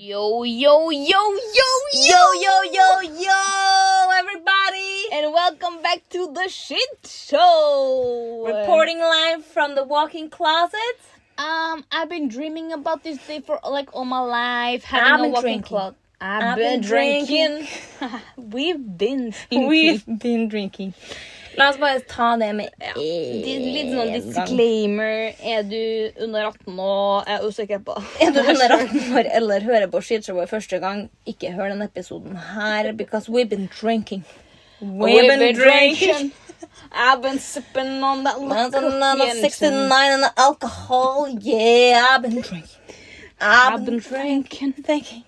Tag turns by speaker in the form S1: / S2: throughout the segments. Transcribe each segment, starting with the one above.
S1: Yo, yo, yo, yo,
S2: Yo, yo, yo, yo, everybody!
S1: and welcome back to the shit show.
S2: Reporting live from the walk-in closet.
S1: Um, I've been dreaming about this day for like all my life.
S2: I've
S1: Having a
S2: been
S1: walking
S2: drinking.
S1: clock. I've,
S2: I've
S1: been,
S2: been
S1: drinking. We've been. Stinky.
S2: been drinking. La oss bare ta det med ja.
S1: Litt litt sånn
S2: en gang.
S1: disclaimer. Er du under 18 og er usikker på
S2: Er du under 18
S1: sånn.
S2: år eller hører på Skitshowet første gang, ikke hør denne episoden her, because we've been drinking.
S1: We've been drinking. I've been sipping on that
S2: That's another
S1: Lacroix.
S2: 69 and alcohol, yeah, I've been drinking. I've,
S1: I've been drinking.
S2: drinking.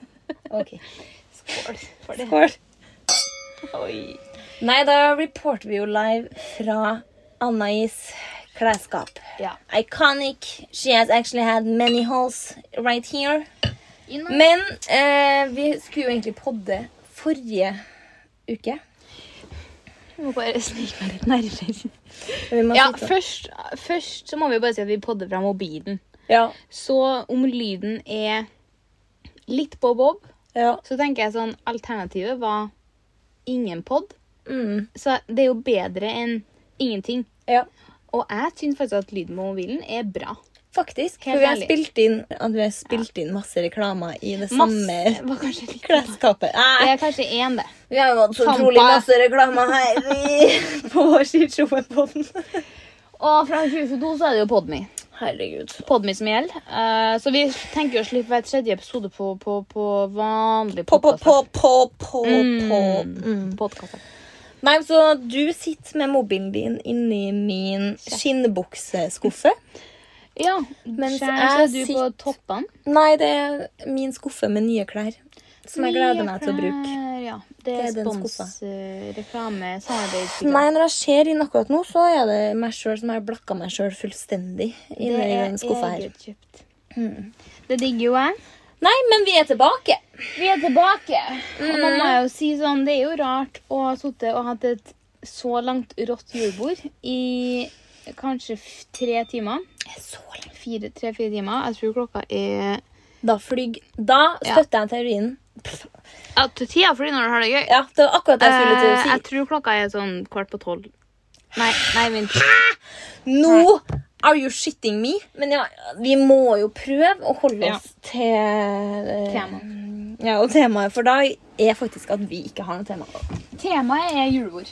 S2: Ok.
S1: Skål for det.
S2: Skål.
S1: Oi.
S2: Nei, da reporter vi jo live fra Anna-Is klesskap.
S1: Ja.
S2: Iconic. She has actually had many holes right here.
S1: You know,
S2: Men eh, vi skulle jo egentlig podde forrige uke.
S1: jeg må bare snike meg litt nærmere.
S2: Men Vi må
S1: Ja,
S2: sitte-
S1: først, først så må vi bare si at vi podder fra mobilen.
S2: ja,
S1: Så om lyden er litt bob-bob,
S2: ja.
S1: så tenker jeg sånn Alternativet var ingen pod.
S2: Mm,
S1: Så det er jo bedre enn ingenting.
S2: ja.
S1: Og jeg syns faktisk at lyden på mobilen er bra.
S2: Faktisk.
S1: Helt
S2: For vi har
S1: ærlig.
S2: spilt inn, at vi har spilt inn masse reklamer i det
S1: Masse
S2: samme
S1: var kanskje litt
S2: klesskapet.
S1: Det
S2: Nei,
S1: er kanskje én, det.
S2: vi har jo hatt så
S1: Tampa.
S2: utrolig masse reklamer her i, på vår skitshowepodden.
S1: Og fra 2022 så er det jo Podme.
S2: Herregud.
S1: Podme som gjelder. Eh, så vi tenker å slippe et tredje episode på, på, på vanlig
S2: På, på,
S1: podcast-app.
S2: på, på, på, på. Mm.
S1: Mm. Podcast-app.
S2: Nei, så du sitter med mobilen din inni min skinnbukseskuffe.
S1: Ja,
S2: Mens
S1: Skjær,
S2: jeg
S1: så er du på
S2: sitter-
S1: toppene.
S2: Nei, det er min skuffe med nye klær. Som jeg gleder meg til å bruke.
S1: Ja, det
S2: Det
S1: er
S2: er den
S1: spons,
S2: skuffa.
S1: eh, reklame, samarbeidsprogram.
S2: Nei, når jeg ser inn akkurat nå, så er det meg sjøl som har blakka meg sjøl fullstendig inni den skuffa her.
S1: egetkjøpt. Mm. Det digger jo jeg.
S2: Nei, men vi er tilbake.
S1: Vi er tilbake. Og man
S2: Mm.
S1: må jo si sånn, det er jo rart å ha sittet og hatt et så langt rått julebord i kanskje f- tre timer.
S2: Så lenge.
S1: Fire, tre-fire timer. Jeg tror klokka er
S2: Da flyg Da
S1: Ja.
S2: støtter jeg teorien. Pff.
S1: Ja, til tida fordi når du har det gøy.
S2: Ja, det var akkurat det jeg skulle
S1: Eh, jeg
S2: til å si.
S1: tror klokka er sånn kvart på tolv. Nei, nei, vent.
S2: Nå are you shitting me? Men ja, vi må jo prøve å holde
S1: Ja.
S2: oss til eh,
S1: Temaet.
S2: Ja, og temaet for dag er faktisk at vi ikke har noe tema.
S1: Temaet er julebord.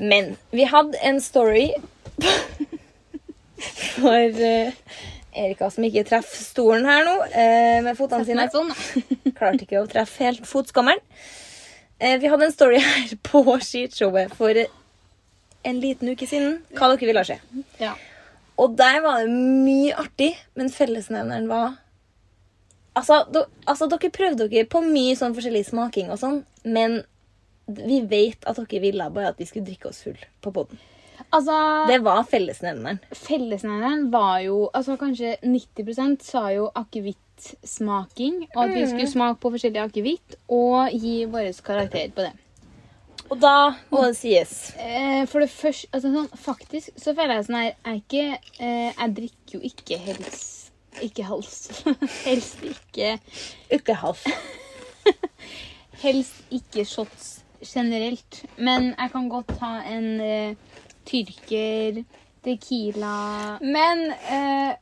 S2: Men vi hadde en story for eh, Erika som ikke treffer stolen her nå eh, med fotene sine.
S1: Sånn, da.
S2: Klarte ikke å treffe helt fotskammeren. Eh, vi hadde en story her på skishowet for eh, en liten uke siden. Hva dere ville se.
S1: Ja.
S2: Og der var det mye artig, men fellesnevneren var Altså, do, altså dere prøvde dere på mye sånn forskjellig smaking og sånn, men vi vet at dere ville bare at vi skulle drikke oss full på poden.
S1: Altså,
S2: Det var fellesnevneren.
S1: fellesnevneren var jo altså Kanskje 90 sa jo akevittsmaking. Og at vi skulle smake på forskjellig akevitt og gi vår karakter på det.
S2: Og da må det sies.
S1: Eh, for det første altså, sånn, Faktisk så føler jeg sånn her Jeg, er ikke, eh, jeg drikker jo ikke helst Ikke hals. helst ikke
S2: Ukkehals.
S1: Helst ikke shots generelt. Men jeg kan godt ta en eh, tyrker, tequila Men eh,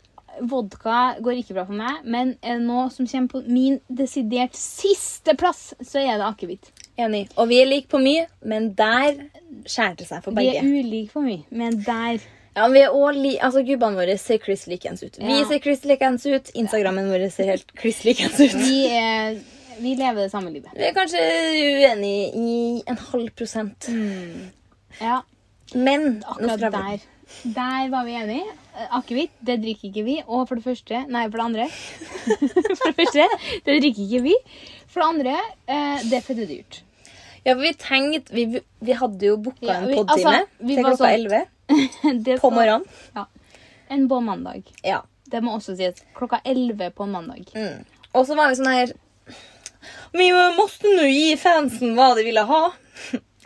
S1: vodka går ikke bra for meg. Men er det noe som kommer på min desidert siste plass, så er det akevitt.
S2: Enig. Og vi er like på mye, men der skjærer det seg for
S1: Vi er
S2: begge.
S1: ulike for mye, men der
S2: Ja, vi er også li altså, Gubbene våre ser kliss likens ut. Vi
S1: Ja.
S2: ser kliss likens ut. Instagrammen vår ser helt kliss likens ut.
S1: Vi, er, vi lever det samme livet.
S2: Vi er kanskje uenige i en halv prosent.
S1: Ja,
S2: Men nå
S1: Mm. akkurat
S2: skal
S1: der.
S2: jeg-
S1: Der var vi enige. Eh, Akevitt, det drikker ikke vi. Og for det første Nei, for det andre. for det første, det drikker ikke vi. For det andre, eh, det er fett dyrt.
S2: Ja, for vi tenkte Vi, vi hadde jo booka
S1: Ja,
S2: en
S1: vi-
S2: podtime
S1: altså, vi
S2: til
S1: var
S2: klokka
S1: sånn-
S2: 11
S1: Det
S2: på
S1: skal-
S2: morgenen.
S1: Ja. Enn på mandag.
S2: Ja.
S1: Det må også sies. Klokka 11 på mandag.
S2: Mm. Og så var vi sånn her Vi måtte nå gi fansen hva de ville ha.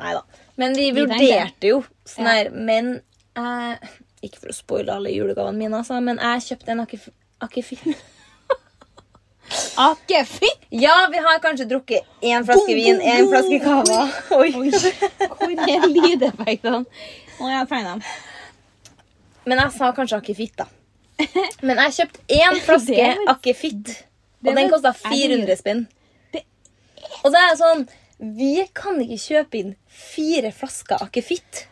S2: Nei da. Men vi
S1: Vi tenkte.
S2: vurderte jo sånn
S1: Ja.
S2: her. Men eh, Ikke for å spoile alle julegavene mine, altså, men jeg kjøpte en akif... akif
S1: Akefitt!
S2: ja, vi har kanskje drukket én flaske vin, én flaske cava. Oi.
S1: Hvor er lydeffektene? Å, jeg tegna den.
S2: Men jeg sa kanskje akefitt, da. Men jeg kjøpte én flaske
S1: vel-
S2: akefitt, og den
S1: vel-
S2: kosta
S1: er det
S2: 400 spenn.
S1: Det-
S2: Og det er sånn Vi kan ikke kjøpe inn fire flasker akefitt,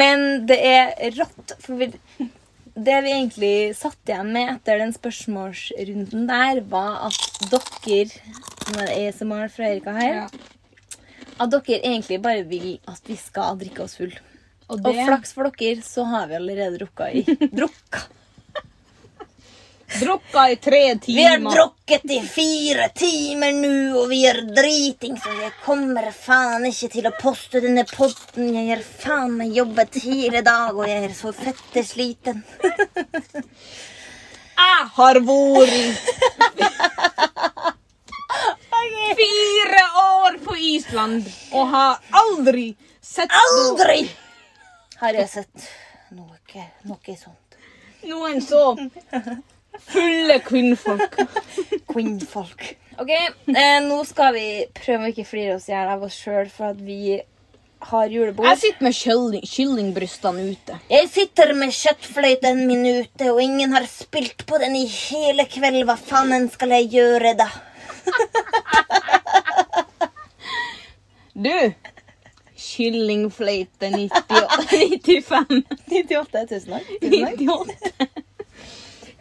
S2: men det er rått. For vi, det vi egentlig satt igjen med etter den spørsmålsrunden der, var at dere Nå er det ASMR fra Erika her.
S1: Ja.
S2: At dere egentlig bare vil at vi skal drikke oss full.
S1: Og
S2: Og
S1: det
S2: flaks for dere, så har vi allerede drukka i Drukka!
S1: drukka i tre
S2: Vi har
S1: timer.
S2: drukket i fire timer nå, og vi er driting, så jeg kommer faen ikke til å poste denne podden. Jeg har faen meg jobbet hele dag, og jeg er så fette sliten.
S1: Jeg har vært fire år på Island og har aldri sett noe-
S2: Aldri har jeg sett noe, noe sånt.
S1: noen så fulle kvinnfolk.
S2: Kvinnfolk. Ok, eh, nå skal vi prøve å ikke flire oss i hjel av oss sjøl for at vi har julebord.
S1: Jeg sitter med kylling, kyllingbrystene ute.
S2: Jeg sitter med kjøttfløyten min ute, og ingen har spilt på den i hele kveld. Hva faen skal jeg gjøre, da?
S1: Du! Kyllingfløyte 90 95.
S2: 98 tusen takk.
S1: Idiot.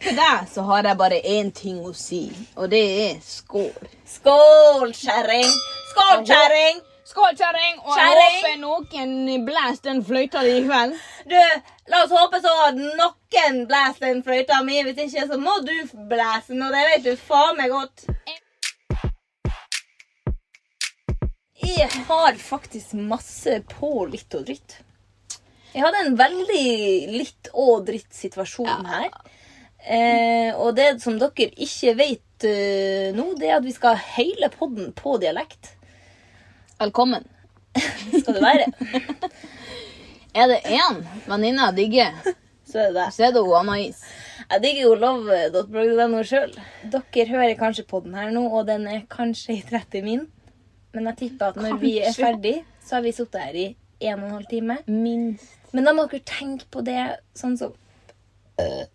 S1: Til deg så har jeg bare én ting å si, og det er skål.
S2: Skål, kjerring! Skål, kjerring!
S1: Skål, kjerring! Og jeg håper
S2: Kjerring!
S1: noen blæser den fløyta di i kveld.
S2: Du, la oss håpe så at noen blæser den fløyta mi. Hvis ikke, så må du blæse den, og det vet du faen meg godt. Jeg har faktisk masse på litt og dritt. Jeg hadde en veldig litt og dritt-situasjon her. Eh, og det som dere ikke vet eh, nå, det er at vi skal ha hele podden på dialekt.
S1: Velkommen.
S2: Skal det være?
S1: Er det én venninne jeg digger,
S2: Så er det det.
S1: så er det hun Anna-Is.
S2: Jeg digger jo love.blogg.no sjøl. Dere hører kanskje på den her nå, og den er kanskje i 30 min. Men jeg tipper at når vi er
S1: Kanskje.
S2: ferdig, så har vi sittet her i 1 12 time.
S1: Minst.
S2: Men da må dere tenke på det sånn som øh,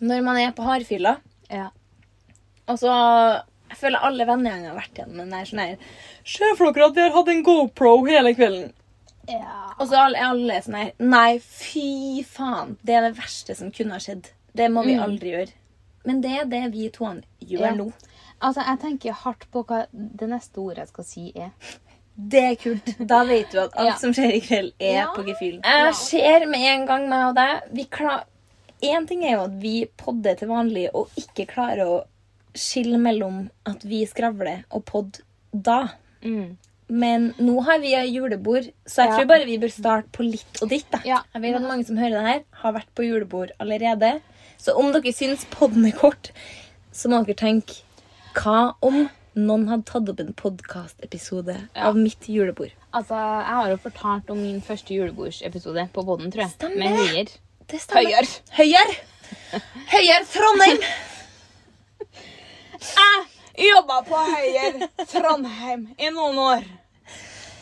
S2: Når man er på hardfylla,
S1: Ja.
S2: og så Jeg føler alle vennegjenger har vært igjennom den der sånn her Se for dere at vi har hatt en GoPro hele kvelden. Og så er alle- alle er sånn her Nei, fy faen. Det er det verste som kunne ha skjedd. Det må vi
S1: Mm.
S2: aldri gjøre. Men det er det vi to han gjør
S1: Ja.
S2: nå.
S1: Altså, Jeg tenker hardt på hva det neste ordet jeg skal si, er.
S2: Det er kult. Da vet du at alt
S1: Ja.
S2: som skjer i kveld, er
S1: Ja.
S2: på gefühlen.
S1: Ja.
S2: Jeg ser med en gang, meg og deg vi klar... En ting er jo at vi podder til vanlig og ikke klarer å skille mellom at vi skravler og podd da.
S1: Mm.
S2: Men nå har vi julebord, så jeg
S1: Ja.
S2: tror bare vi bør starte på litt og ditt. Da.
S1: Ja.
S2: Jeg vet at mange som hører det her, har vært på julebord allerede. Så om dere syns podden er kort, så må dere tenke Hva om noen hadde tatt opp en podkastepisode av mitt julebord?
S1: Altså, Jeg har jo fortalt om min første julebordsepisode på Bodden, tror jeg.
S2: Stemmer.
S1: Med Høyer.
S2: Det stemmer.
S1: Høyer.
S2: Høyere! Høyere Trondheim!
S1: Jeg jobba på Høyer Trondheim i noen år.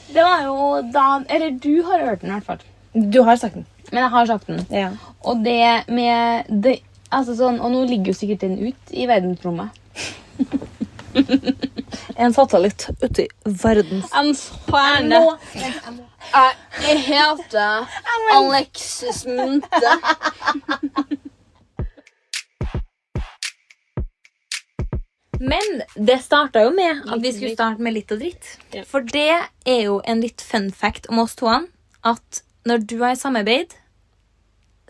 S1: Det var jo da Eller du har hørt den, i hvert fall.
S2: Du har sagt den.
S1: Men jeg har sagt den.
S2: Ja.
S1: Og det med det, altså sånn, Og nå ligger jo sikkert den ut i verdensrommet.
S2: En satellitt ute i verdens
S1: En stjerne. Eh, Jeg heter Alexis Munte.
S2: Men det starta jo med at vi skulle starte med litt og dritt.
S1: Ja.
S2: For det er jo en litt fun fact om oss toene at når du har samarbeid,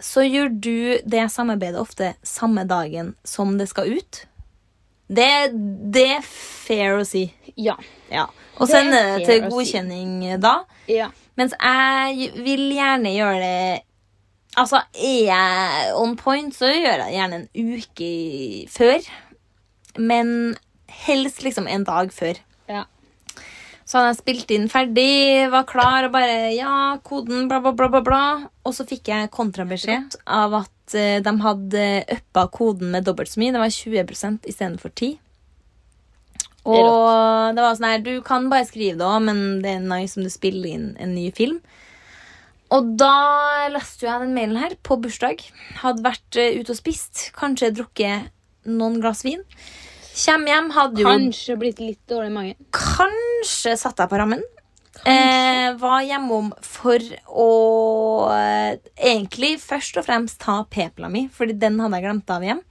S2: så gjør du det samarbeidet ofte samme dagen som det skal ut. Det, det er fair å si.
S1: Ja.
S2: Ja. Og
S1: Det er
S2: sende det
S1: fair
S2: til
S1: å si.
S2: godkjenning da.
S1: ja.
S2: Mens jeg vil gjerne gjøre det Altså, er jeg on point, så gjør jeg det gjerne en uke i- før. Men helst liksom en dag før.
S1: Ja.
S2: Så hadde jeg spilt inn ferdig, var klar og bare Ja, koden, bla, bla, bla, bla. bla. Og så fikk jeg kontrabeskjed av at eh, de hadde uppa koden med dobbelt så mye. Det var 20 istedenfor 10
S1: Det er
S2: Og det var sånn her Du kan bare skrive det òg, men det er nice om du spiller inn en ny film. Og da leste jeg den mailen her på bursdag. Hadde vært eh, ute og spist. Kanskje drukket noen glass vin. Kjem hjem, hadde jo
S1: Kanskje blitt litt dårlig i magen.
S2: kanskje satt deg på rammen. Eh, var hjemom for å eh, egentlig først og fremst ta p-pilla mi, fordi den hadde jeg glemt av hjem.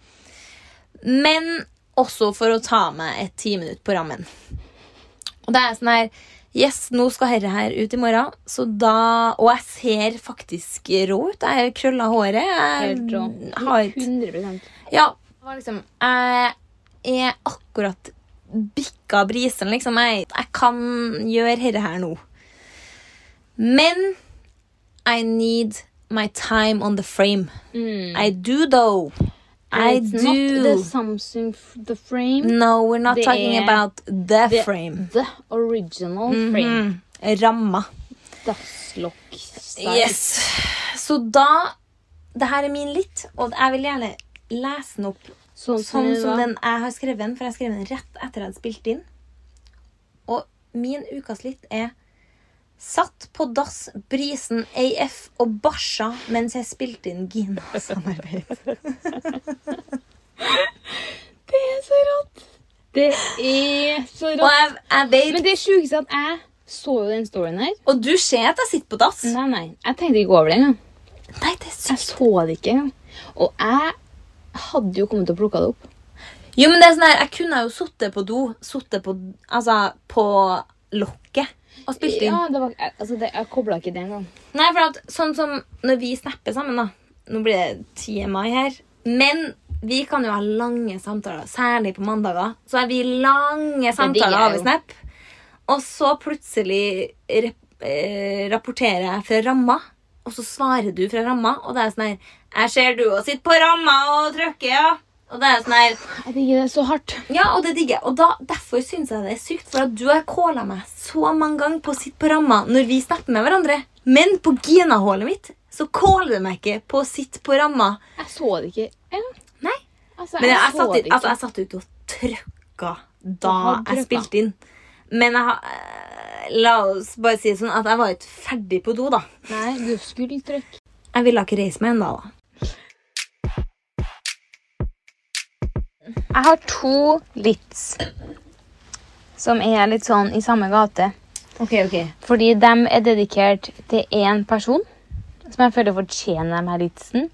S2: Men også for å ta meg et ti minutt på rammen. Og det er sånn her Yes, nå skal herre her ut i morgen. Så da, og jeg ser faktisk rå ut. Jeg krøller håret. Jeg
S1: Helt rå.
S2: har ikke
S1: 100
S2: ja. Det var liksom, jeg er akkurat bikka brisen, liksom. Jeg, jeg kan gjøre dette her nå. Men I need my time on the frame.
S1: mm.
S2: I do, though. I
S1: It's not the
S2: do. Mm.
S1: Samsung f- the frame.
S2: No, we're not
S1: Det
S2: talking
S1: er-
S2: about the
S1: det-
S2: frame.
S1: The original frame.
S2: Mm. Ramma.
S1: Dasslock. style.
S2: Yes. Så da det her er min litt, og jeg vil gjerne lese den opp
S1: Sånn,
S2: Sånn som
S1: den.
S2: den jeg har skrevet den, for jeg skrev den rett etter jeg hadde spilt inn. Og min ukas litt er Satt på dass brisen AF og barsa mens jeg spilte inn Gina-samarbeid.
S1: Det er så rått! Det er så
S2: Og
S1: rått.
S2: jeg, jeg vet,
S1: Men det sjukeste er at jeg så jo den storyen her.
S2: og du ser at jeg sitter på dass.
S1: Nei, nei. Jeg tenkte ikke over det engang.
S2: Nei, det er sykt.
S1: Jeg så det ikke engang. Og jeg hadde jo kommet til å plukke det opp.
S2: Jo, men det er sånn her, Jeg kunne jo sittet på do, sittet på, altså, på lokket og spilt inn.
S1: Ja, det var, jeg- altså, det, jeg kobla ikke det engang.
S2: Nei, for at sånn som når vi snapper sammen, da Nå blir det 10. mai her. Men vi kan jo ha lange samtaler, særlig på mandager. Så er vi lange samtaler
S1: jeg
S2: over
S1: jo.
S2: Snap, og så plutselig rep- eh, rapporterer jeg fra ramma. Og så svarer du fra ramma, og det er sånn her Jeg ser du og sitter på ramma og trykker, ja. Og det er sånn her
S1: Jeg digger det så hardt.
S2: Ja, og det digger jeg. Og da, derfor syns jeg det er sykt, for at du har kåla meg så mange ganger på å sitte på ramma når vi snapper med hverandre. Men på Gina-hålet mitt så kåler du meg ikke på å sitte på ramma.
S1: Jeg så det ikke engang.
S2: Nei.
S1: Altså,
S2: Men jeg, jeg,
S1: så
S2: satt,
S1: det
S2: i-
S1: ikke.
S2: altså, jeg satt ute og trøkka da
S1: har
S2: jeg
S1: trøkka.
S2: spilte inn. Men jeg har eh, La oss bare si det sånn at jeg var ikke ferdig på do, da.
S1: Nei, du skulle trykke.
S2: Jeg ville ikke reise meg ennå, da.
S1: Jeg har to lits som er litt sånn i samme gate.
S2: Ok, ok.
S1: Fordi de er dedikert til én person som jeg føler fortjener de her litsen.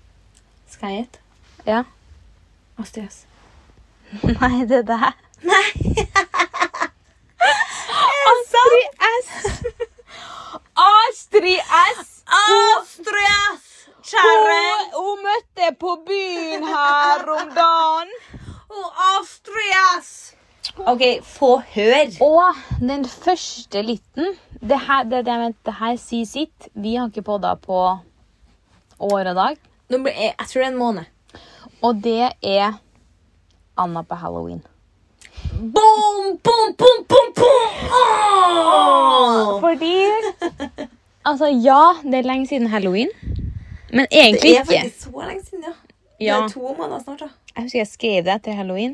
S2: Skal jeg gjette?
S1: Ja.
S2: Astrid S.
S1: Nei, det er deg.
S2: Astrid S!
S1: Astrid S!
S2: Astrid S! Kjerring!
S1: hun møtte på byen her om dagen.
S2: OK, få høre.
S1: Og den første liten Det her, det, det, jeg mente, det her sier sitt. Vi har ikke podda på år og dag.
S2: Nå blir e, jeg, jeg tror det er en måned.
S1: Og det er Anna på halloween.
S2: Boom, boom, boom, boom, boom! Åh!
S1: Fordi Altså, ja, det er lenge siden halloween. Men egentlig
S2: Det er
S1: ikke.
S2: faktisk så lenge siden, ja.
S1: Ja.
S2: Det er to måneder snart, da.
S1: Jeg husker jeg skrev det etter halloween.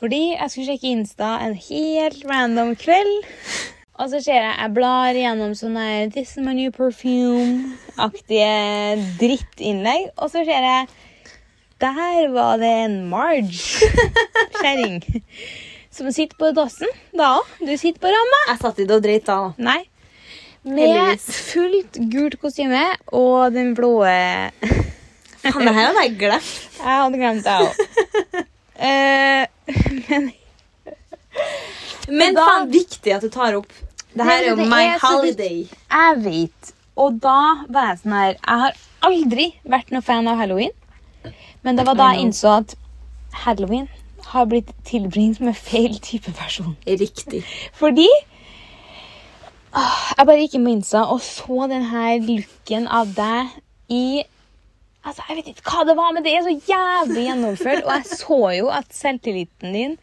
S1: Fordi jeg skulle sjekke Insta en helt random kveld. Og så ser jeg jeg blar gjennom sånne her This is my new perfume-aktige drittinnlegg. Og så ser jeg Der var det en Marge. Kjerring. Som sitter på dassen. Da òg. Du sitter på ramma.
S2: Jeg satt i det og dreit da. da.
S1: Nei. Med
S2: Heldigvis.
S1: fullt gult kostyme og den blå Jeg
S2: Faen, det her hadde jeg glemt.
S1: hadde glemt det òg. men
S2: Men
S1: Da-
S2: faen, viktig at du tar opp. Det
S1: Nei,
S2: her er jo
S1: det
S2: my
S1: er så
S2: holiday.
S1: Jeg vet. Og da var jeg sånn her Jeg har aldri vært noen fan av halloween. Men det var da jeg innså at halloween har blitt tilbringt med feil type person.
S2: Riktig.
S1: Fordi ah, Åh, Jeg bare gikk inn på Insta og så den her looken av deg i Altså, Jeg vet ikke hva det var, men det er så jævlig gjennomført. Og jeg så jo at selvtilliten din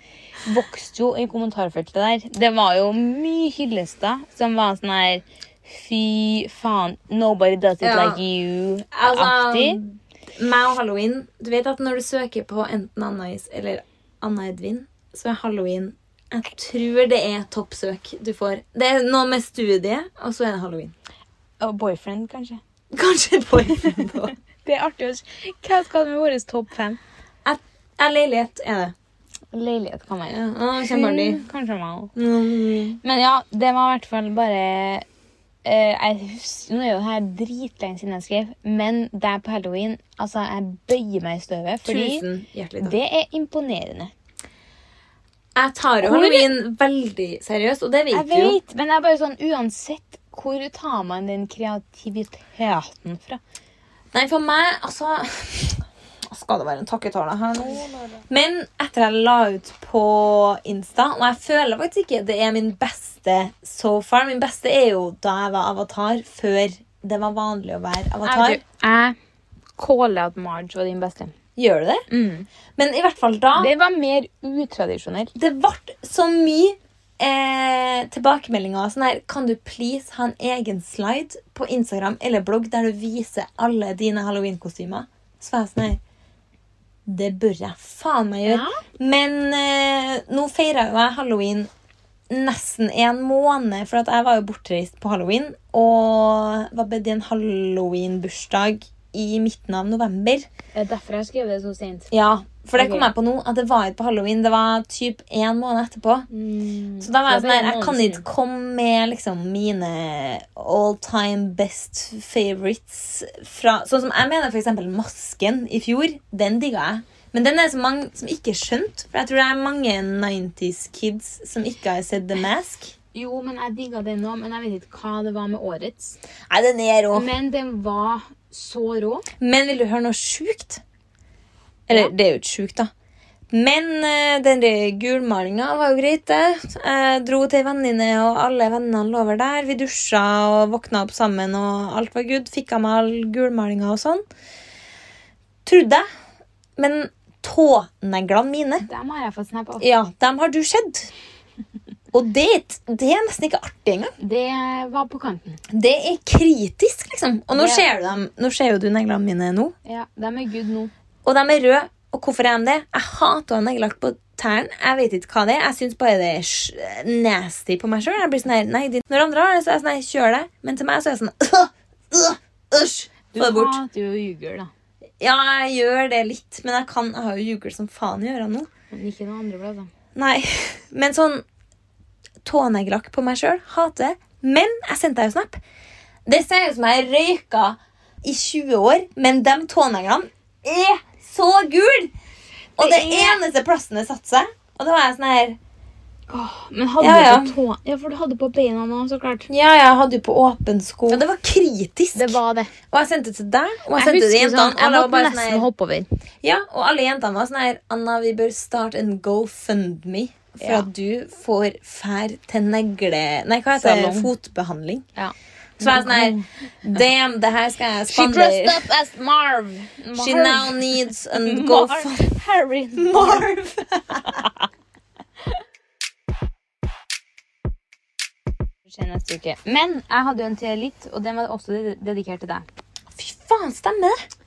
S1: vokste jo i kommentarfeltet der. Det var jo mye hyllester som var sånn her Fy faen, nobody does it
S2: Ja.
S1: like you-aktig.
S2: Altså,
S1: Altså, meg og halloween Du vet at når du søker på enten Anna-Is eller Anna-Edvin, så er halloween Jeg tror det er toppsøk du får. Det er noe med studiet, og så er det halloween. Og boyfriend, kanskje.
S2: Kanskje boyfriend òg.
S1: Det er artig å se. Hva skal vi med vår topp fem?
S2: Ja, leilighet er det.
S1: Leilighet kan være.
S2: Ja,
S1: Kanskje meg også.
S2: Mm.
S1: Men ja, det var i hvert fall bare eh, jeg husker, Nå er jo det her dritlenge siden jeg skrev, men der på halloween Altså, jeg bøyer meg i støvet, fordi
S2: Tusen hjertelig takk.
S1: det er imponerende.
S2: Jeg tar jo
S1: Hvor-
S2: halloween veldig seriøst, og det vet
S1: Jeg
S2: du jo.
S1: vet, men jeg er bare sånn Uansett hvor tar man den kreativiteten fra?
S2: Nei, for meg, altså Skal det være en takketale her nå?
S1: Men etter jeg la ut på Insta, og jeg føler faktisk ikke det er min beste so far Min beste er jo da jeg var avatar, før det var vanlig å være avatar.
S2: Jeg
S1: Jeg caller at Marge var din beste.
S2: Gjør du det? Men i hvert fall da
S1: Det var mer utradisjonelt.
S2: Det ble så mye eh, tilbakemeldinger og sånn her Kan du please ha en egen slide på Instagram eller blogg der du viser alle dine halloweenkostymer? Så var jeg sånn her Det bør jeg faen meg gjøre. Men eh, nå feira jo jeg halloween nesten en måned, for at jeg var jo bortreist på halloween og var bedt i en halloweenbursdag i midten av november.
S1: Det er derfor jeg skrev det så sent.
S2: Ja, for det
S1: Ok.
S2: kom jeg på nå, at det var ikke på halloween. Det var typ en måned etterpå.
S1: Mm.
S2: Så da var jeg sånn her, jeg kan ikke komme med liksom mine all time best favorites fra Sånn som jeg mener for eksempel Masken i fjor. Den digga jeg. Men den er det så mange som ikke skjønte. For jeg tror det er mange 90s kids som ikke har sett The Mask.
S1: Jo, men jeg digga den nå, men jeg vet ikke hva det var med årets.
S2: Nei, den er rå.
S1: Men den var så rå.
S2: Men vil du høre noe sjukt? Eller, det er jo ikke sjukt, da. Men eh, den der gulmalinga var jo greit, det. Jeg dro til ei venninne, og alle vennene lå over der. Vi dusja og våkna opp sammen, og alt var good. Fikk av meg all gulmalinga og sånn. Trodde jeg. Men tåneglene mine
S1: Dem har jeg fått snap av.
S2: Ja, dem har du sett. Og det, er ikke- det er nesten ikke artig engang.
S1: Det var på kanten.
S2: Det er kritisk, liksom. Og nå
S1: Det-
S2: ser du dem. Nå ser jo du neglene mine nå.
S1: Ja, Dem er good nå.
S2: Og de er røde. Og hvorfor er de det? Jeg hater å ha neglelakk på tærne. Jeg vet ikke hva det er. Jeg syns bare det er sj- nasty på meg sjøl. Jeg blir sånn her Nei, de- når andre har det, så er jeg sånn her Kjør det. Men til meg så er jeg sånn «Åh, åh, Æsj!
S1: Du
S2: Få det bort.
S1: hater jo jugel, da.
S2: Ja, jeg gjør det litt, men jeg kan Jeg har jo jugel som faen i ørene nå.
S1: Men ikke noen andre plasser.
S2: Nei, men sånn Tåneglelakk på meg sjøl. Hater det. Men jeg sendte deg jo snap. Det ser ut som jeg røyka i 20 år, men de tåneglene er så gule! Og det,
S1: Det er-
S2: eneste plassen det satte seg. Og da var jeg sånn her
S1: Men hadde
S2: Ja, ja.
S1: du på tå... Ja, for du hadde på beina nå, så klart.
S2: Ja, jeg hadde jo på åpen sko. Ja, det var kritisk.
S1: Det var det.
S2: Og jeg sendte det til deg, og jeg,
S1: Jeg,
S2: sendte det til
S1: husker sånn,
S2: jentene.
S1: jeg
S2: og det var
S1: måtte
S2: bare sånn
S1: nesten
S2: her-
S1: hoppe over.
S2: Ja, og alle jentene var sånn her Anna, vi bør starte en GoFundMe for
S1: Ja.
S2: at du får fær til negle... Nei, hva heter det?
S1: Salong.
S2: Fotbehandling.
S1: Ja.
S2: Så var jeg sånn her Damn, det her skal jeg
S1: She dressed
S2: spandere.
S1: up as Marv.
S2: She now needs a
S1: Marv.
S2: GoFundMe.
S1: Harry.
S2: Marv!
S1: Skjer neste uke. Men jeg hadde jo en til litt, og den var også ded- dedikert til deg.
S2: Fy faen, stemmer det?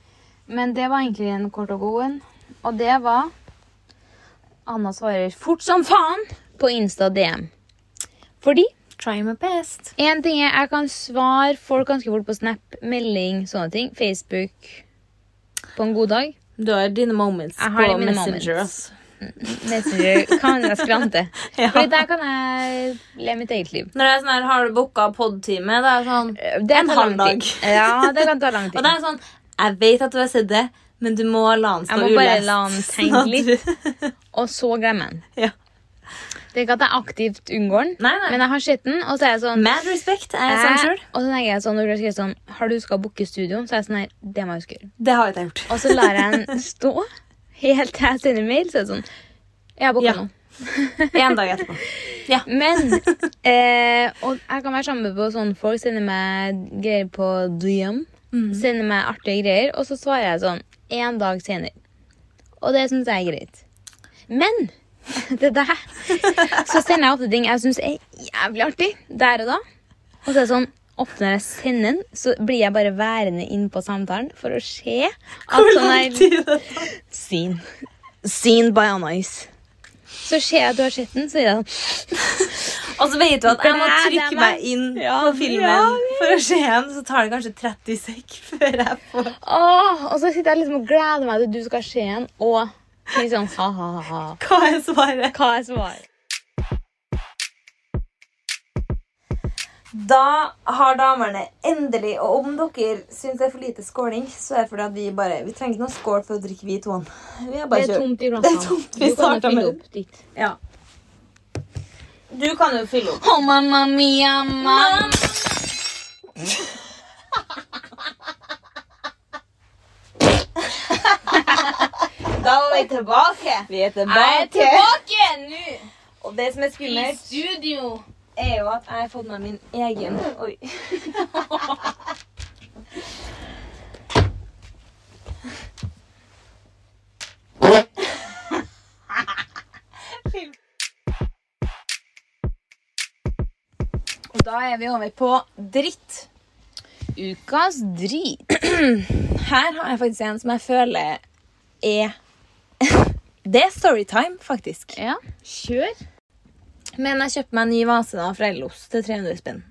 S1: Men det var egentlig en kort og god en. Og det var Anna svarer fort som faen på Insta DM. Fordi
S2: Try my best.
S1: en ting er jeg kan svare folk ganske fort på Snap, melding, sånne ting. Facebook på en god dag.
S2: Du har dine moments
S1: Jeg har mine moments. Messenger kan jeg skrante.
S2: Ja.
S1: Fordi der kan jeg leve mitt eget liv.
S2: Når det er sånn her, har du booka podtime? Det er sånn
S1: Eh, Det
S2: En
S1: tar
S2: halv
S1: lang tid.
S2: dag.
S1: Ja, det kan ta lang
S2: Og
S1: tid.
S2: det er sånn Jeg vet at du har sett det, men du må la den stå
S1: Jeg må bare la den tenke
S2: sånn at
S1: litt.
S2: du-
S1: Og så glemmer jeg den.
S2: ja.
S1: Det er ikke at jeg aktivt unngår den,
S2: Nei, nei.
S1: men jeg har sett den, og så er jeg sånn
S2: Mad respect
S1: eh,
S2: er jeg sånn sjøl.
S1: Og så tenker jeg sånn, når du har skrevet sånn Har du huska å booke studio? Så er jeg sånn her Det må jeg huske å gjøre.
S2: Det har ikke jeg gjort.
S1: Og så lar jeg den stå helt til jeg sender mail, så er det sånn Jeg har booka
S2: Ja.
S1: nå.
S2: En dag etterpå. Ja.
S1: Men eh, Og jeg kan være sammen med på sånn folk sender meg greier på DM.
S2: Mm.
S1: sender meg artige greier, og så svarer jeg sånn en dag senere. Og det syns jeg er greit. Men det der Så sender jeg ofte ting jeg syns er jævlig artig der og da. Og så er det sånn Ofte når jeg sender den, så blir jeg bare værende inne på samtalen for å se at sånn er Seen. Seen by on ice. Så ser jeg at du har sett den, så er jeg sånn
S2: Og så vet du at jeg må
S1: Det er- det er
S2: trykke
S1: meg.
S2: meg inn
S1: Ja,
S2: på filmen
S1: ja,
S2: for å se den, så tar det kanskje 30 sek før jeg får
S1: Åh, og så sitter jeg liksom og gleder meg til du skal se den, og sier sånn ha-ha-ha.
S2: hva jeg svarer.
S1: Hva er svaret?
S2: Da har damene endelig Og om dere syns det er for lite skåling, så er det fordi at vi bare Vi trenger ikke noe skål for å drikke, vi to. Vi har
S1: Det
S2: bare
S1: er
S2: kjørt.
S1: tomt i
S2: Det er tomt. Vi
S1: Du kan jo
S2: starter med
S1: fylle
S2: det.
S1: opp ditt.
S2: Ja. Du kan jo fylle opp.
S1: Oh, mamma mia, mamma.
S2: Da var vi tilbake. Vi er
S1: Jeg er tilbake nå
S2: Og det som er
S1: i
S2: skummelt,
S1: studio.
S2: er jo at jeg har fått meg min egen Oi. Og da er vi over på dritt.
S1: Ukas drit.
S2: Her har jeg faktisk en som jeg føler er Det er storytime, faktisk.
S1: Ja, kjør.
S2: Men jeg kjøpte meg en ny vase da fra Ellos til 300 spenn.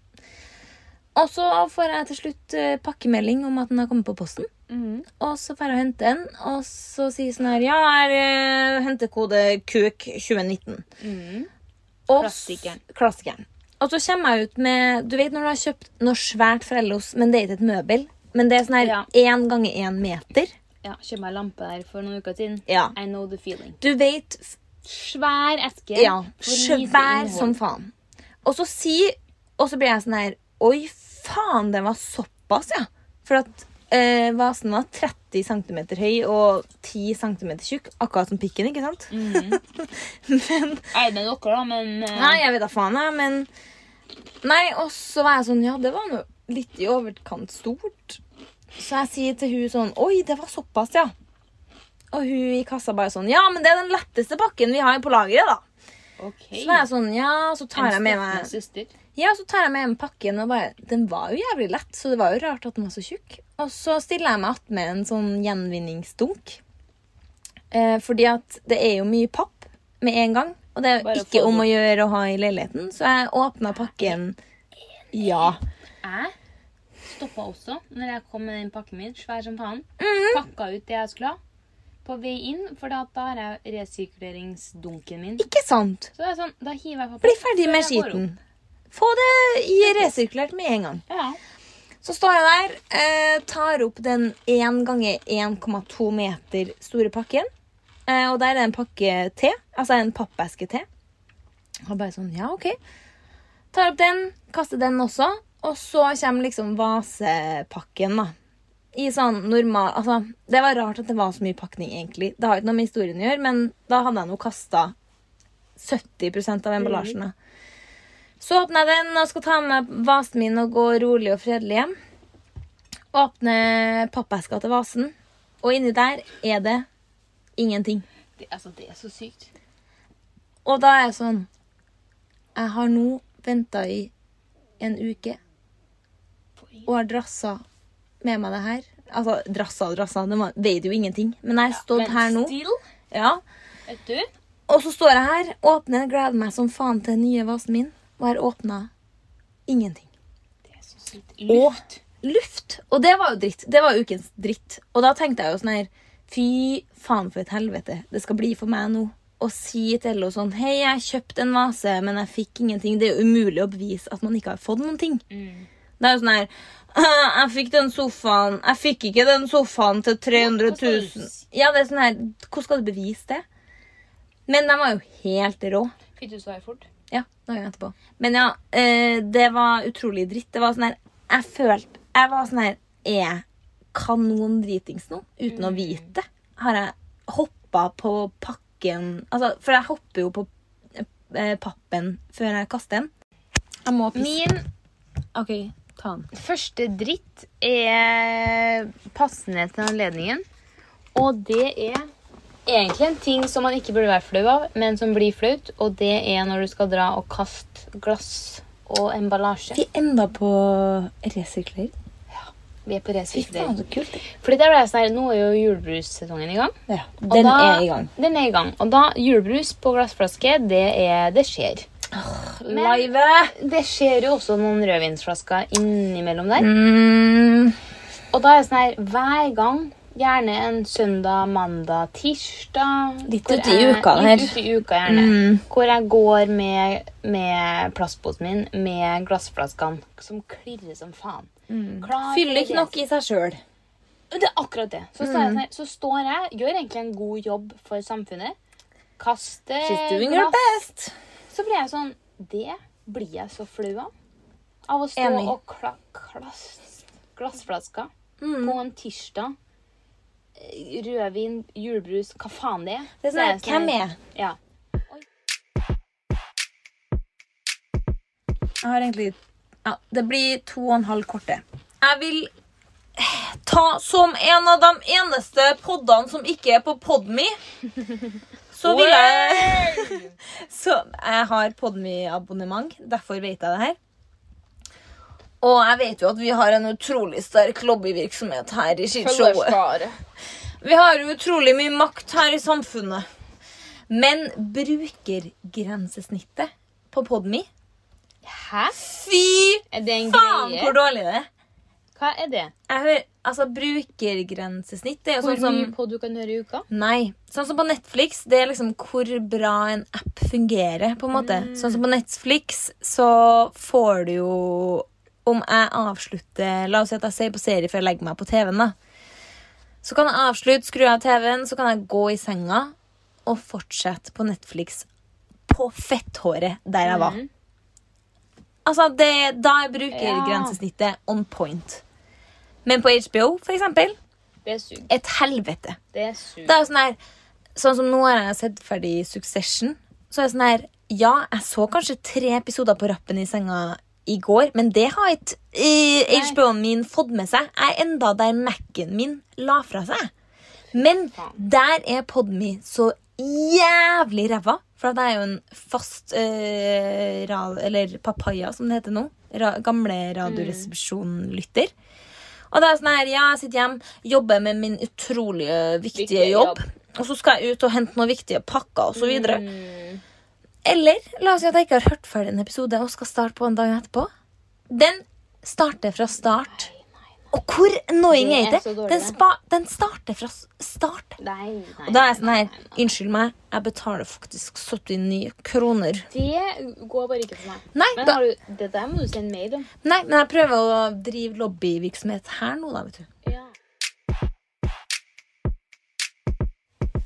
S2: Og så får jeg til slutt eh, pakkemelding om at den har kommet på posten.
S1: Mhm.
S2: Og så får jeg og hente den, og så sier sånn her Ja, her eh, hentekode KUK 2019. Og s-
S1: Mm. Klassikeren.
S2: Klassikeren. Og så kommer jeg ut med Du vet når du har kjøpt noe svært fra Ellos, men det er ikke et møbel. Men det er sånn her
S1: Ja.
S2: én ganger én meter.
S1: Ja, Kjøpte meg lampe der for noen uker siden.
S2: Ja.
S1: I know the feeling.
S2: Du vet
S1: Svær eske.
S2: Ja,
S1: for lite
S2: svær
S1: innhold.
S2: som faen. Og så si Og så blir jeg sånn her Oi, faen, den var såpass, ja. For at eh, vasen var 30 cm høy og 10 cm tjukk. Akkurat som pikken, ikke sant?
S1: Mhm.
S2: men
S1: Jeg er med dere, da, men eh,
S2: Nei, jeg vet da faen, jeg, men Nei, og så var jeg sånn Ja, det var noe litt i overkant stort. Så jeg sier til hun sånn Oi, det var såpass, ja. Og hun i kassa bare sånn Ja, men det er den letteste pakken vi har på lageret, da.
S1: OK.
S2: Så var jeg sånn, ja, så tar jeg med
S1: En
S2: meg
S1: søster.
S2: Ja, så tar jeg med meg pakken og bare Den var jo jævlig lett, så det var jo rart at den var så tjukk. Og så stiller jeg meg attmed en sånn gjenvinningsdunk. Eh, fordi at det er jo mye papp med en gang. Og det er jo
S1: Bare
S2: ikke
S1: få
S2: om
S1: bort.
S2: å gjøre å ha i leiligheten, så jeg åpna pakken Ja.
S1: Jeg stoppa også når jeg kom med den pakken min, svær som faen.
S2: Mhm.
S1: Pakka ut det jeg skulle ha. På vei inn, for da, da har jeg resirkuleringsdunken min.
S2: Ikke sant?
S1: Så det er sånn, da hiver jeg på
S2: Bli ferdig med
S1: før jeg går
S2: skiten. Få det i resirkulert med en gang.
S1: opp. Ja.
S2: Så står jeg der, eh, tar opp den 1 ganger 1,2 meter store pakken. Eh, og der er det en pakke te, altså en pappeske te. Og bare sånn, ja, ok. Tar opp den, kaster den også. Og så kommer liksom vasepakken, da. I sånn normal Altså, det var rart at det var så mye pakning, egentlig. Det har ikke noe med historien å gjøre, men da hadde jeg nå kasta 70 av emballasjen. da. Så åpner jeg den og skal ta med vasen min og gå rolig og fredelig hjem. Åpner pappeska til vasen, og inni der er det ingenting.
S1: Det, altså, det er så sykt.
S2: Og da er jeg sånn Jeg har nå venta i en uke og har drassa med meg det her. Altså, drassa og drassa, det var- vet jo ingenting. Men jeg har stått
S1: Men
S2: her nå.
S1: still,
S2: Ja,
S1: vet du,
S2: Og så står jeg her, åpner, gleder meg som faen til den nye vasen min, og har åpna ingenting.
S1: det er så sykt. Luft.
S2: luft. Og det var jo dritt. Det var ukens dritt. Og da tenkte jeg jo sånn her Fy faen for et helvete det skal bli for meg nå. Å si til Ello sånn Hei, jeg kjøpte en vase, men jeg fikk ingenting. Det er jo umulig å bevise at man ikke har fått noen ting. Det er jo sånn her «Øh, Jeg fikk den sofaen Jeg fikk ikke den sofaen til 300 000. Ja, det er sånn her Hvordan skal du bevise det? Men den var jo helt rå.
S1: Fikk du svar fort?
S2: Ja, dagen etterpå. Men ja, eh, det var utrolig dritt. Det var sånn her Jeg følte Jeg var sånn her Er jeg kanondritings nå? Uten å vite det? Har jeg hoppa på pakken Altså, for jeg hopper jo på eh, pappen før jeg kaster den. Jeg må pisse.
S1: Min
S2: OK, Ta den.
S1: Første dritt er passende til anledningen. Og det er egentlig en ting som man ikke burde være flau av, men som blir flaut. Og det er når du skal dra og kaste glass og emballasje.
S2: Vi enda på resirkler.
S1: Vi er på
S2: Fy faen,
S1: resirkulering.
S2: så kult.
S1: Fordi der ble jeg sånn her, Nå er jo julebrussesongen i gang.
S2: Ja,
S1: og
S2: den
S1: da-
S2: er i gang.
S1: Den er i gang. Og da julebrus på glassflaske, det, er, det skjer. Men-
S2: Live!
S1: Det skjer jo også noen rødvinsflasker innimellom der.
S2: Mm,
S1: Og da er det sånn her hver gang, gjerne en søndag, mandag, tirsdag
S2: Litt
S1: hvor
S2: ut i
S1: jeg-
S2: uka Mm.
S1: Litt
S2: der.
S1: ut i uka, gjerne. Hvor jeg går med, med plastposen min med glassflaskene som klirrer som faen.
S2: Mm.
S1: Klar
S3: Fyller
S1: til
S3: ikke nok i seg sjøl.
S1: Det er akkurat det. Så står, jeg,
S2: Mm.
S1: sånn her- så står jeg, gjør egentlig en god jobb for samfunnet, kaster
S3: She's doing her best.
S1: så blir jeg sånn Det blir jeg så flau av. Av å stå
S3: Enig.
S1: og kla, klass, glassflasker på en tirsdag. eh, Rødvin, julebrus, hva faen det er.
S3: Det er sånn,
S1: Det er sånn-
S3: hvem er
S1: Ja.
S2: jeg har egentlig ja, Det blir to og en halv korte. Jeg vil eh, ta som en av de eneste poddene som ikke er på Podme. Så vil jeg Så jeg har Podme-abonnement, derfor vet jeg det her. Og jeg vet jo at vi har en utrolig sterk lobbyvirksomhet her i Skishowet. Vi har jo utrolig mye makt her i samfunnet. Men brukergrensesnittet på Podme
S1: Hæ?
S2: Fy
S1: Er det en
S2: faen
S1: greie?
S2: hvor dårlig det er!
S1: Hva er det?
S2: Jeg hører, altså Brukergrensesnitt det er jo
S1: Hvor
S2: sånn som
S1: mye på du kan høre i uka?
S2: Nei. Sånn som på Netflix, det er liksom hvor bra en app fungerer. på en måte. Sånn som på Netflix, så får du jo Om jeg avslutter La oss si at jeg ser på serie før jeg legger meg på TV-en. da. Så kan jeg avslutte, skru av TV-en, så kan jeg gå i senga og fortsette på Netflix på fetthåret der jeg var.
S1: Mhm.
S2: Altså, det, Da er brukergrensesnittet on point. Men på HBO, for eksempel,
S1: Det suger.
S2: et helvete.
S1: Det suger.
S2: Det er jo sånn her Sånn som nå har jeg sett ferdig Succession. Så er det sånn her Ja, jeg så kanskje tre episoder på rappen i senga i går, men det har ikke eh,
S1: Nei.
S2: HBO-en min fått med seg. Jeg er enda der Mac-en min la fra seg. Men
S1: faen.
S2: der er Podme så jævlig ræva. For at jeg er jo en fast eh, ra, Eller papaya, som det heter nå. Ra, gamle
S1: Mm.
S2: Radioresepsjon-lytter. Og det er sånn her, ja, jeg sitter hjemme, jobber med min utrolig viktige,
S1: Viktige jobb.
S2: jobb. Og så skal jeg ut og hente noen viktige pakker og så videre.
S1: Mm.
S2: Eller la oss si at jeg ikke har hørt ferdig en episode og skal starte på en dag etterpå. Den starter fra start. Og hvor annoying
S1: Det
S2: er
S1: er
S2: det?
S1: så dårlig,
S2: Den,
S1: det.
S2: spa, den starter fra s- start.
S1: Nei, nei.
S2: Og da er jeg sånn
S1: nei,
S2: her,
S1: nei, nei.
S2: unnskyld meg, jeg betaler faktisk 79 kroner.
S1: Det går bare ikke for meg.
S2: Nei,
S1: Men
S2: da,
S1: har du, det der må du sende mail om.
S2: nei, men jeg prøver å drive lobbyvirksomhet her nå, da, vet du.
S1: Ja.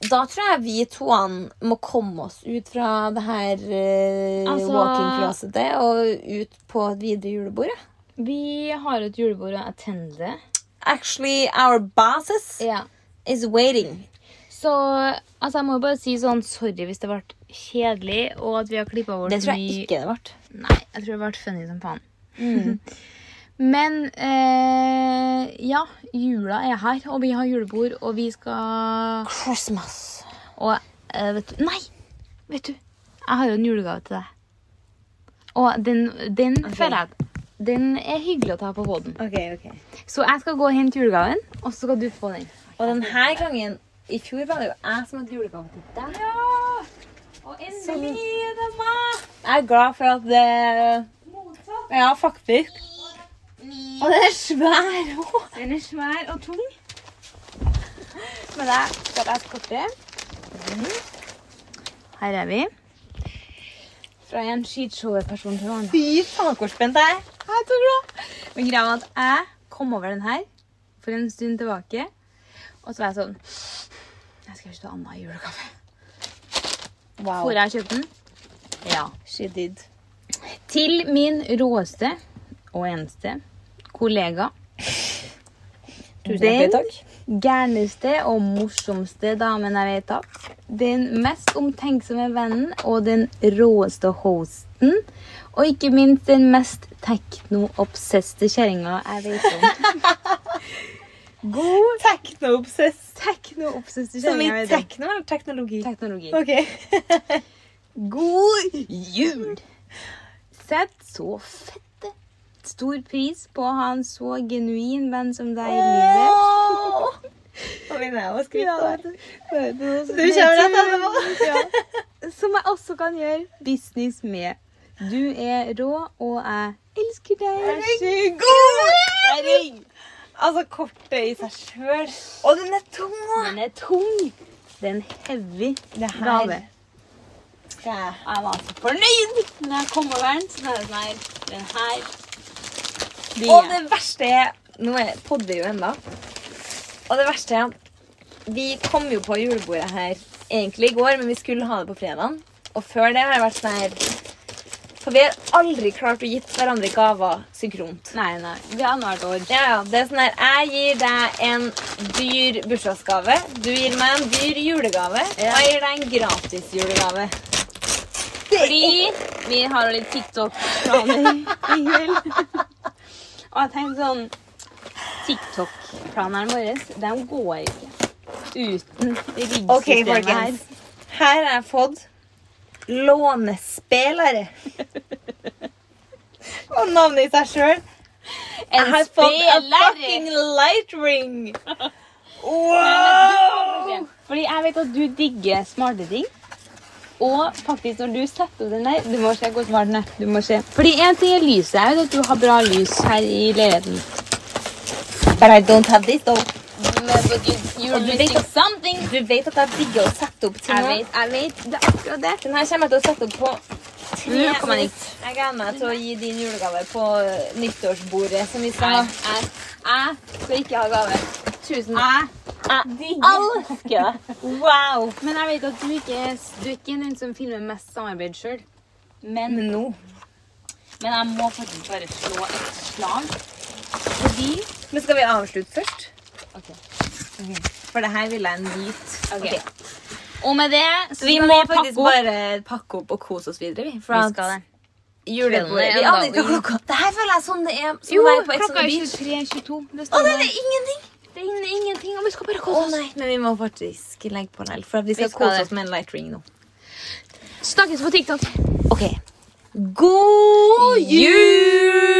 S2: Da tror jeg vi toene må komme oss ut fra det her eh,
S1: Altså-
S2: walking-closetet og ut på et videre julebord. ja.
S1: Vi har et julebord å attende.
S2: Actually, our bosses
S1: Ja.
S2: is waiting.
S1: Så altså, jeg må jo bare si sånn sorry hvis det ble kjedelig, og at vi har klippa bort
S2: Det tror jeg ikke Mm. det ble.
S1: Nei, jeg tror det ble funny som faen. Men eh, ja, jula er her, og vi har julebord, og vi skal
S2: Christmas.
S1: Og eh, vet du Nei! Vet du, jeg har jo en julegave til deg. Og den, den føler jeg at Den er hyggelig å ta på båten.
S2: Ok, ok.
S1: Så jeg skal gå og hente julegaven, og så skal du få den.
S2: Og denne gangen, i fjor var det jo jeg som hadde julegave til deg.
S1: Og
S2: Jeg er glad for at det... Ja, faktisk. Og den er svær også.
S1: Den er svær og tung. Men jeg skal være kortere. Her er vi. Fra en skishow-person til en annen.
S2: Fy faen, hvor spent jeg er.
S1: Jeg er så glad. Men greia var at jeg kom over den her for en stund tilbake. Og så var jeg sånn Jeg skal ikke ta Anna i julegave.
S2: Wow.
S1: Hvor jeg kjøpte den? Ja.
S2: She did.
S1: Til min råeste og eneste kollega.
S2: Tusen hjertelig
S1: Den
S2: takk.
S1: gærneste og morsomste damen jeg vet av. Den mest omtenksomme vennen og den råeste hosten. Og ikke minst den mest tekno-obsesste kjerringa jeg vet om. God
S2: Tekno-obsess.
S1: tekno-obsesste
S2: Som i
S1: kjerringa jeg vet om.
S2: tekno eller teknologi?
S1: Teknologi.
S2: Ok.
S1: God jul! Sett så fette stor pris på å ha en så genuin venn som deg i livet.
S2: Åh! Nå begynner jeg å skryte.
S1: Ja,
S2: av det.
S1: vet du
S2: Du kommer rett etterpå.
S1: Som jeg også kan gjøre business med. Du er rå, og jeg elsker deg.
S2: Herregud! Altså, kortet i seg sjøl. Og den er tung! også.
S1: Den er tung. Det er en heavy
S2: Det her
S1: gave.
S2: skal jeg
S1: Jeg var så fornøyd når jeg kom over den. Så er det sånn her. Den her. blir
S2: Og
S1: jeg.
S2: det verste er Nå er- podder vi jo ennå. Og det verste er at vi kom jo på julebordet her egentlig i går, men vi skulle ha det på fredag. Og før det har det vært sånn her For vi har aldri klart å gitt hverandre gaver synkront.
S1: Nei, nei. Vi har annethvert år.
S2: Ja, ja, det er sånn her Jeg gir deg en dyr bursdagsgave. Du gir meg en dyr julegave. Og jeg gir deg en gratis julegave.
S1: Fordi vi har litt TikTok-planer i kveld. Og jeg tenkte sånn TikTok-planene våre, de går ikke uten riggsystemet
S2: Ok, folkens. Her har jeg fått lånespillere. Og navnet i seg sjøl.
S1: her.
S2: Jeg
S1: En
S2: har fått a fucking
S1: spiller!
S2: light ring. Wow!
S1: Fordi jeg vet at du digger smarte ting. Og faktisk når du setter opp den der Du må se hvor smart den er. Du må se. Fordi en ting er lyset. Jeg vet at du har bra lys her i leiligheten.
S2: But I don't have this, though.
S1: Men but you, you're
S2: Og du vet
S1: missing
S2: at-
S1: something.
S2: Du vet at jeg digger å sette opp ting.
S1: Jeg
S2: nå.
S1: vet, jeg vet. Det er akkurat det.
S2: Den her kommer jeg til å sette opp på tre
S1: Nå kommer den
S2: minutter. Jeg gleder meg til å gi din julegave på eh, nyttårsbordet som vi skal
S1: Nei,
S2: ha.
S1: jeg, jeg skal ikke ha gave.
S2: Tusen
S1: Jeg
S2: elsker det. Wow.
S1: Men jeg vet at du ikke er, du er ikke den som filmer mest samarbeid sjøl. Men,
S2: Men nå
S1: men jeg må faktisk bare slå et slag. Fordi
S2: Men skal vi avslutte først?
S1: Ok.
S2: For det her vil jeg en hvit.
S1: Ok. Og med det så
S2: Vi
S1: skal
S2: må
S1: pakke
S2: faktisk
S1: opp.
S2: bare pakke opp og kose oss videre. vi. For
S1: Vi
S2: at
S1: skal det. Julebordet
S2: julebordet Vi
S1: er
S2: aner ikke
S1: en dag
S2: hva klokka Det her føler jeg som det er som
S1: Jo,
S2: å være på Ex on
S1: klokka
S2: the
S1: er 23.22.
S2: Beach.
S1: Det
S2: Å,
S1: står
S2: det
S1: der.
S2: er ingenting!
S1: Det er ingen- ingenting, og vi skal bare
S2: Å
S1: kose oss.
S2: nei, Men vi må faktisk legge på den, for at vi skal,
S1: skal
S2: kose
S1: det.
S2: oss med en light ring nå.
S1: Snakkes på TikTok.
S2: Ok. God jul!